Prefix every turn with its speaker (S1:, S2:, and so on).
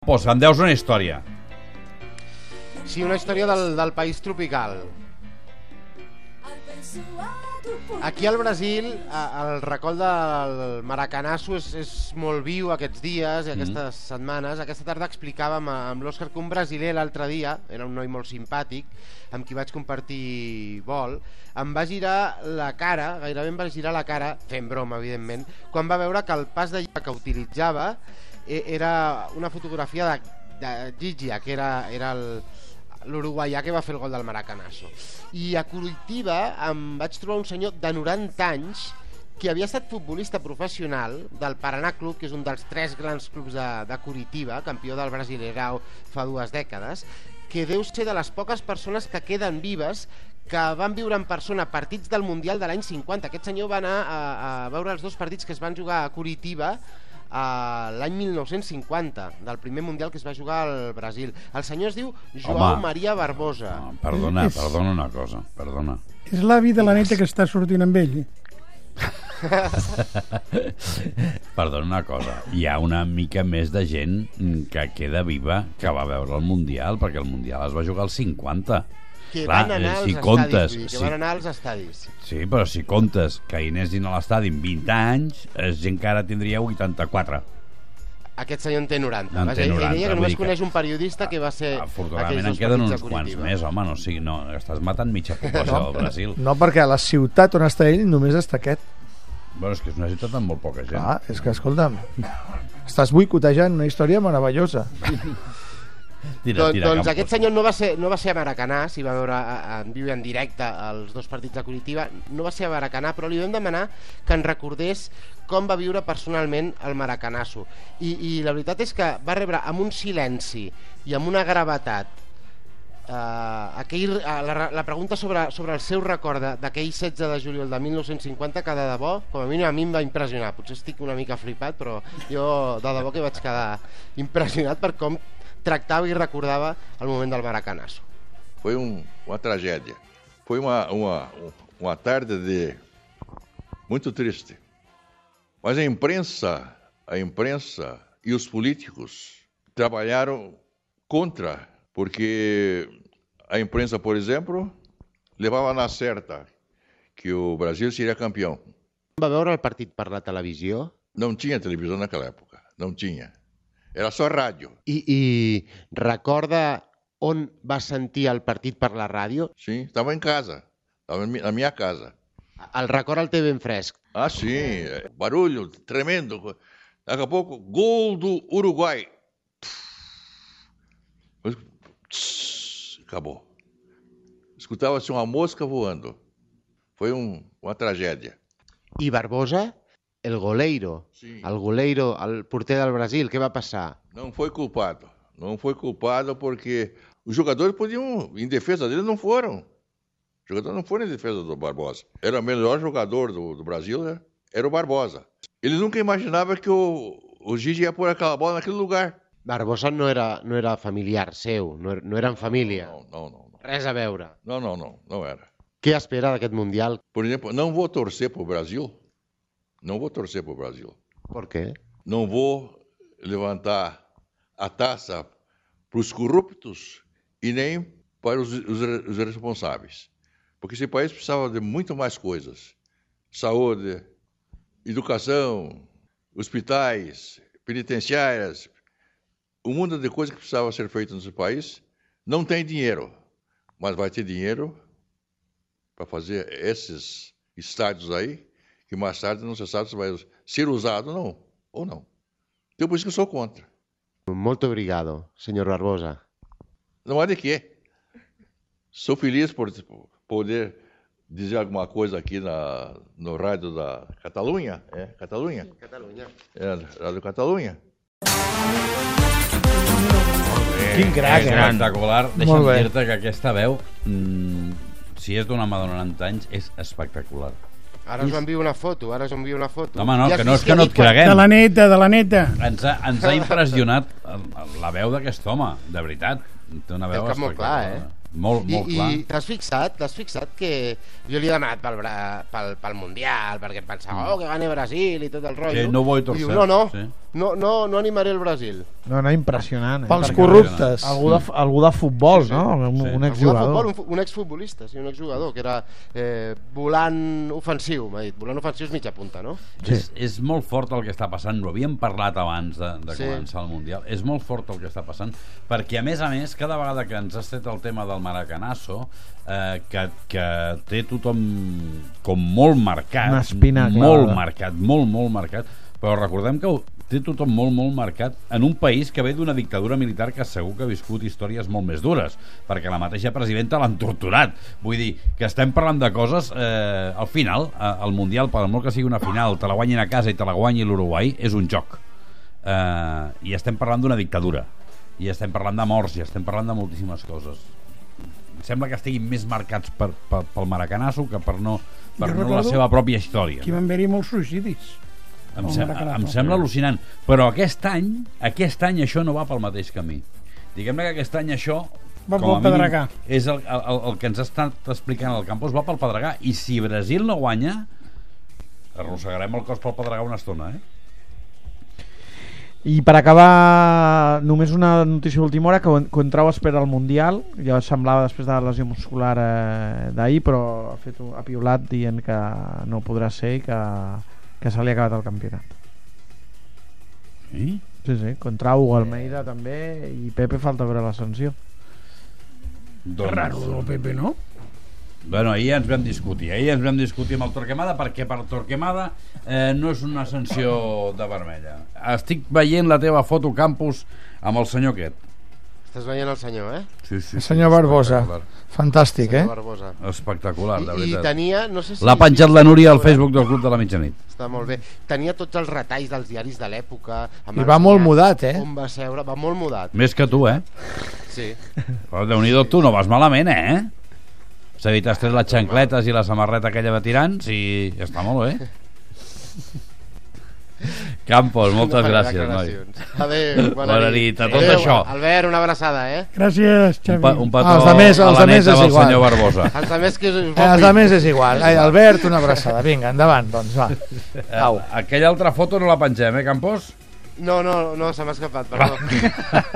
S1: Pues, em deus una història.
S2: Sí, una història del, del país tropical. Aquí al Brasil, a- el recoll del Maracanazo és, és molt viu aquests dies i aquestes setmanes. Aquesta tarda explicàvem a- amb l'Òscar que un brasiler l'altre dia, era un noi molt simpàtic, amb qui vaig compartir vol, em va girar la cara, gairebé em va girar la cara, fent broma, evidentment, quan va veure que el pas de llibre que utilitzava eh, era una fotografia de, de Gigia, que era, era el, l'uruguaià que va fer el gol del Maracanazo. I a Curitiba em vaig trobar un senyor de 90 anys que havia estat futbolista professional del Paraná Club, que és un dels tres grans clubs de, de Curitiba, campió del Brasilerao fa dues dècades, que deu ser de les poques persones que queden vives que van viure en persona partits del Mundial de l'any 50. Aquest senyor va anar a, a veure els dos partits que es van jugar a Curitiba a l'any 1950, del primer Mundial que es va jugar al Brasil. El senyor es diu Joao
S1: Home.
S2: Maria Barbosa.
S1: Ah, Perdona,
S3: És-
S1: perdona una cosa, perdona.
S3: És l'avi de la neta que està sortint amb ell.
S1: Perdona una cosa, hi ha una mica més de gent que queda viva que va veure el Mundial, perquè el Mundial es va jugar als 50.
S2: Que
S1: Clar,
S2: van
S1: eh,
S2: anar als
S1: si
S2: estadis,
S1: comptes,
S2: vull dir, que
S1: si-
S2: van anar als estadis.
S1: Sí, però si comptes que hi anessin a l'estadi amb 20 anys, és gent que ara tindria 84.
S2: Aquest senyor en té 90.
S1: En
S2: Vaja,
S1: té
S2: ell
S1: 90,
S2: deia que
S1: vull
S2: només
S1: dir que-
S2: coneix un periodista que va ser... Eh, aquells eh?
S1: Afortunadament en
S2: dos
S1: queden
S2: partits
S1: uns
S2: de
S1: quants
S2: Curitiba.
S1: més, home, no, sí, no, estàs matant mitja població del Brasil.
S4: No, perquè a la ciutat on està ell només està aquest.
S1: Bueno, és que és una ciutat amb molt poca gent.
S2: Ah,
S4: Clar, és que, escolta'm, estàs boicotejant una història meravellosa.
S1: Tira,
S2: Don,
S1: tira
S2: doncs
S1: cap,
S2: aquest
S1: pues.
S2: senyor no va ser, no va ser a Maracanà, si va veure a- a- en viu i en directe els dos partits de Curitiba, no va ser a Maracanà, però li vam demanar que ens recordés com va viure personalment el Maracanasso. I, I la veritat és que va rebre amb un silenci i amb una gravetat Uh, aquell, uh, la, la pregunta sobre, sobre el seu record de- d'aquell 16 de juliol de 1950 que de debò, com a mínim a mi em va impressionar potser estic una mica flipat però jo de debò que vaig quedar impressionat per com tractava i recordava el moment del Maracanazo
S5: Foi um- uma tragédia. Foi uma, uma, uma tarde de muito triste. Mas a imprensa, a imprensa e os políticos trabalharam contra, porque a imprensa, por exemplo, levava na certa que o Brasil seria campeão.
S2: va veure el partit per la televisió
S5: Não tinha televisão naquela época, não tinha. Era só rádio.
S2: i, i recorda on va sentir el partit per la ràdio
S5: Sim, estava em casa, estava em- na minha casa.
S2: el record el té ben fresc
S5: Ah, sim, é, barulho tremendo. Daqui a pouco, gol do Uruguai. Mas, tss, Acabou. Escutava-se uma mosca voando. Foi um- uma tragédia.
S2: i Barbosa, el goleiro
S5: Sim.
S2: el goleiro, el porter del Brasil què va passar?
S5: Não foi culpado. Não foi culpado porque os jogadores podiam, em defesa dele, não foram. Os jogadores não foram em defesa do Barbosa. Era o melhor jogador do, do Brasil, né? Era o Barbosa. Ele nunca imaginava que o, o Gigi ia pôr aquela bola naquele lugar.
S2: Barbosa no era, no era familiar seu, no, er- no era en família.
S5: Não, não, não, não.
S2: Res a veure.
S5: Não, não, não, não era.
S2: Què espera d'aquest Mundial?
S5: Por exemplo, não vou torcer para o Brasil. Não vou torcer para o Brasil.
S2: Per què?
S5: Não vou levantar a taça para os corruptos e nem para os, os re- os responsáveis. Porque esse país precisava de muito mais coisas: saúde, educação, hospitais, penitenciárias. Um mundo de coisas que precisava ser feito nesse país. Não tem dinheiro, mas vai ter dinheiro para fazer esses estádios aí, que mais tarde não se sabe se vai ser usado ou não, ou não. Então por isso que eu sou contra.
S2: Molt obrigado, senyor Barbosa.
S5: Não há de quê. Sou feliz por por poder dizer alguma coisa aqui na, no rádio da Catalunha. É, Catalunha?
S2: Catalunya.
S5: É, rádio Catalunha.
S4: Quin crac,
S1: És
S4: eh?
S1: espectacular. Deixa'm
S4: Molt bé.
S1: dir-te que aquesta veu, mm, si és d'una home de 90 anys, és espectacular.
S2: Ara us envio una foto, ara us envio una foto.
S1: Home, no,
S2: I
S1: que no, és
S2: sí
S1: que no
S2: ha
S1: et
S2: dit quan-
S3: De la
S1: creguem.
S3: neta, de la neta.
S1: Ens ha, ens ha impressionat el- la veu d'aquest home, de veritat. Té una
S2: Té el
S1: veu
S2: cap molt clar,
S1: espectacular. Molt,
S2: I,
S1: molt clar.
S2: i t'has fixat, t'has fixat que jo li he demanat pel, Bra- pel, pel Mundial perquè em pensava, oh, que gane Brasil i tot el rotllo.
S1: Mm. no vull
S2: I diu,
S1: torcer,
S2: no, no,
S1: sí.
S2: No, no, no animaré el Brasil.
S4: No, no, impressionant. Eh?
S1: Perquè-
S6: Pels corruptes.
S4: Algú de, algú de futbol, sí, sí. no? Un,
S1: Sí.
S4: un
S2: Algú de futbol,
S4: exjugador.
S2: un, fu- un exfutbolista, sí, un exjugador, que era eh, volant ofensiu, m'ha dit. Volant ofensiu és mitja punta, no?
S4: Sí.
S1: És, és molt fort el que està passant, ho havíem parlat abans de, de
S2: Sí.
S1: sí. començar el Mundial, és molt fort el que està passant, perquè a més a més, cada vegada que ens has tret el tema del Maracanazo, eh, que, que té tothom com molt marcat,
S4: Una espina
S1: molt
S4: clavada.
S1: marcat, molt, molt marcat, però recordem que ho té tothom molt, molt marcat en un país que ve d'una dictadura militar que segur que ha viscut històries molt més dures, perquè la mateixa presidenta l'han torturat. Vull dir, que estem parlant de coses... Eh, al final, eh, el Mundial, per molt que sigui una final, te la guanyin a casa i te la guanyi l'Uruguai, és un joc. Eh, I estem parlant d'una dictadura. I estem parlant de morts, i estem parlant de moltíssimes coses. Em sembla que estiguin més marcats per, per, pel maracanasso que per no, per
S3: Jo
S1: no la
S3: recordo
S1: seva pròpia història.
S3: Aquí van haver-hi molts suïcidis.
S1: Em,
S3: El
S1: sem
S3: Maracanazo.
S1: em sembla al·lucinant. Però aquest any, aquest any això no va pel mateix camí. Diguem-ne que aquest any això
S3: Va
S1: com a mínim,
S3: pel pedregar.
S1: és el, el, el, el que ens ha estat explicant el Campos, va pel pedregar. I si Brasil no guanya, arrossegarem el cos pel pedregar una estona, eh?
S6: I per acabar, només una notícia d'última hora, que Contrau espera el Mundial, ja semblava després de la lesió muscular eh, d'ahir, però ha, fet un, ha piulat dient que no podrà ser i que, que se li ha acabat el campionat.
S1: Sí?
S6: Sí, sí, Contrau, Almeida també, i Pepe falta veure la sanció.
S1: Doncs,
S3: Raro, el Pepe, no?
S1: Bueno, ahir ens vam discutir. Ahir ens vam discutir amb el Torquemada perquè per Torquemada eh, no és una sanció de vermella. Estic veient la teva foto, Campus, amb el senyor aquest.
S2: Estàs veient el senyor, eh?
S1: Sí, sí.
S4: El senyor Barbosa.
S1: Espectacular.
S4: Fantàstic, eh?
S2: Senyor Barbosa.
S1: Espectacular, de
S2: I, I
S1: veritat.
S2: tenia, no sé si...
S1: L'ha penjat la Núria al Facebook del Club de la Mitjanit.
S2: Està molt bé. Tenia tots els retalls dels diaris de l'època. amb
S4: I
S2: els
S4: va molt
S2: diaris,
S4: mudat, eh?
S2: On va seure, va molt mudat.
S1: Més que tu, eh?
S2: Sí.
S1: Però déu nhi tu no vas malament, eh? S'ha dit, has tret les xancletes i la samarreta aquella de tirants i està molt bé. Campos, moltes
S2: faré
S1: gràcies, noi.
S2: declaracions. Adéu, bona,
S1: Bona nit a tot això.
S2: Albert, una abraçada, eh?
S3: Gràcies,
S1: Un,
S3: Xavi.
S1: pa, un petó
S4: Els de més-
S1: a
S4: els
S1: la
S4: de més
S1: neta
S4: és
S1: del
S4: igual.
S1: senyor Barbosa.
S2: Els altres que us, us
S4: Eh, els altres és igual. Ai, Albert, una abraçada. Vinga, endavant, doncs, va. Au.
S1: Eh, Aquella altra foto no la pengem, eh, Campos?
S2: No, no, no, se m'ha escapat, perdó.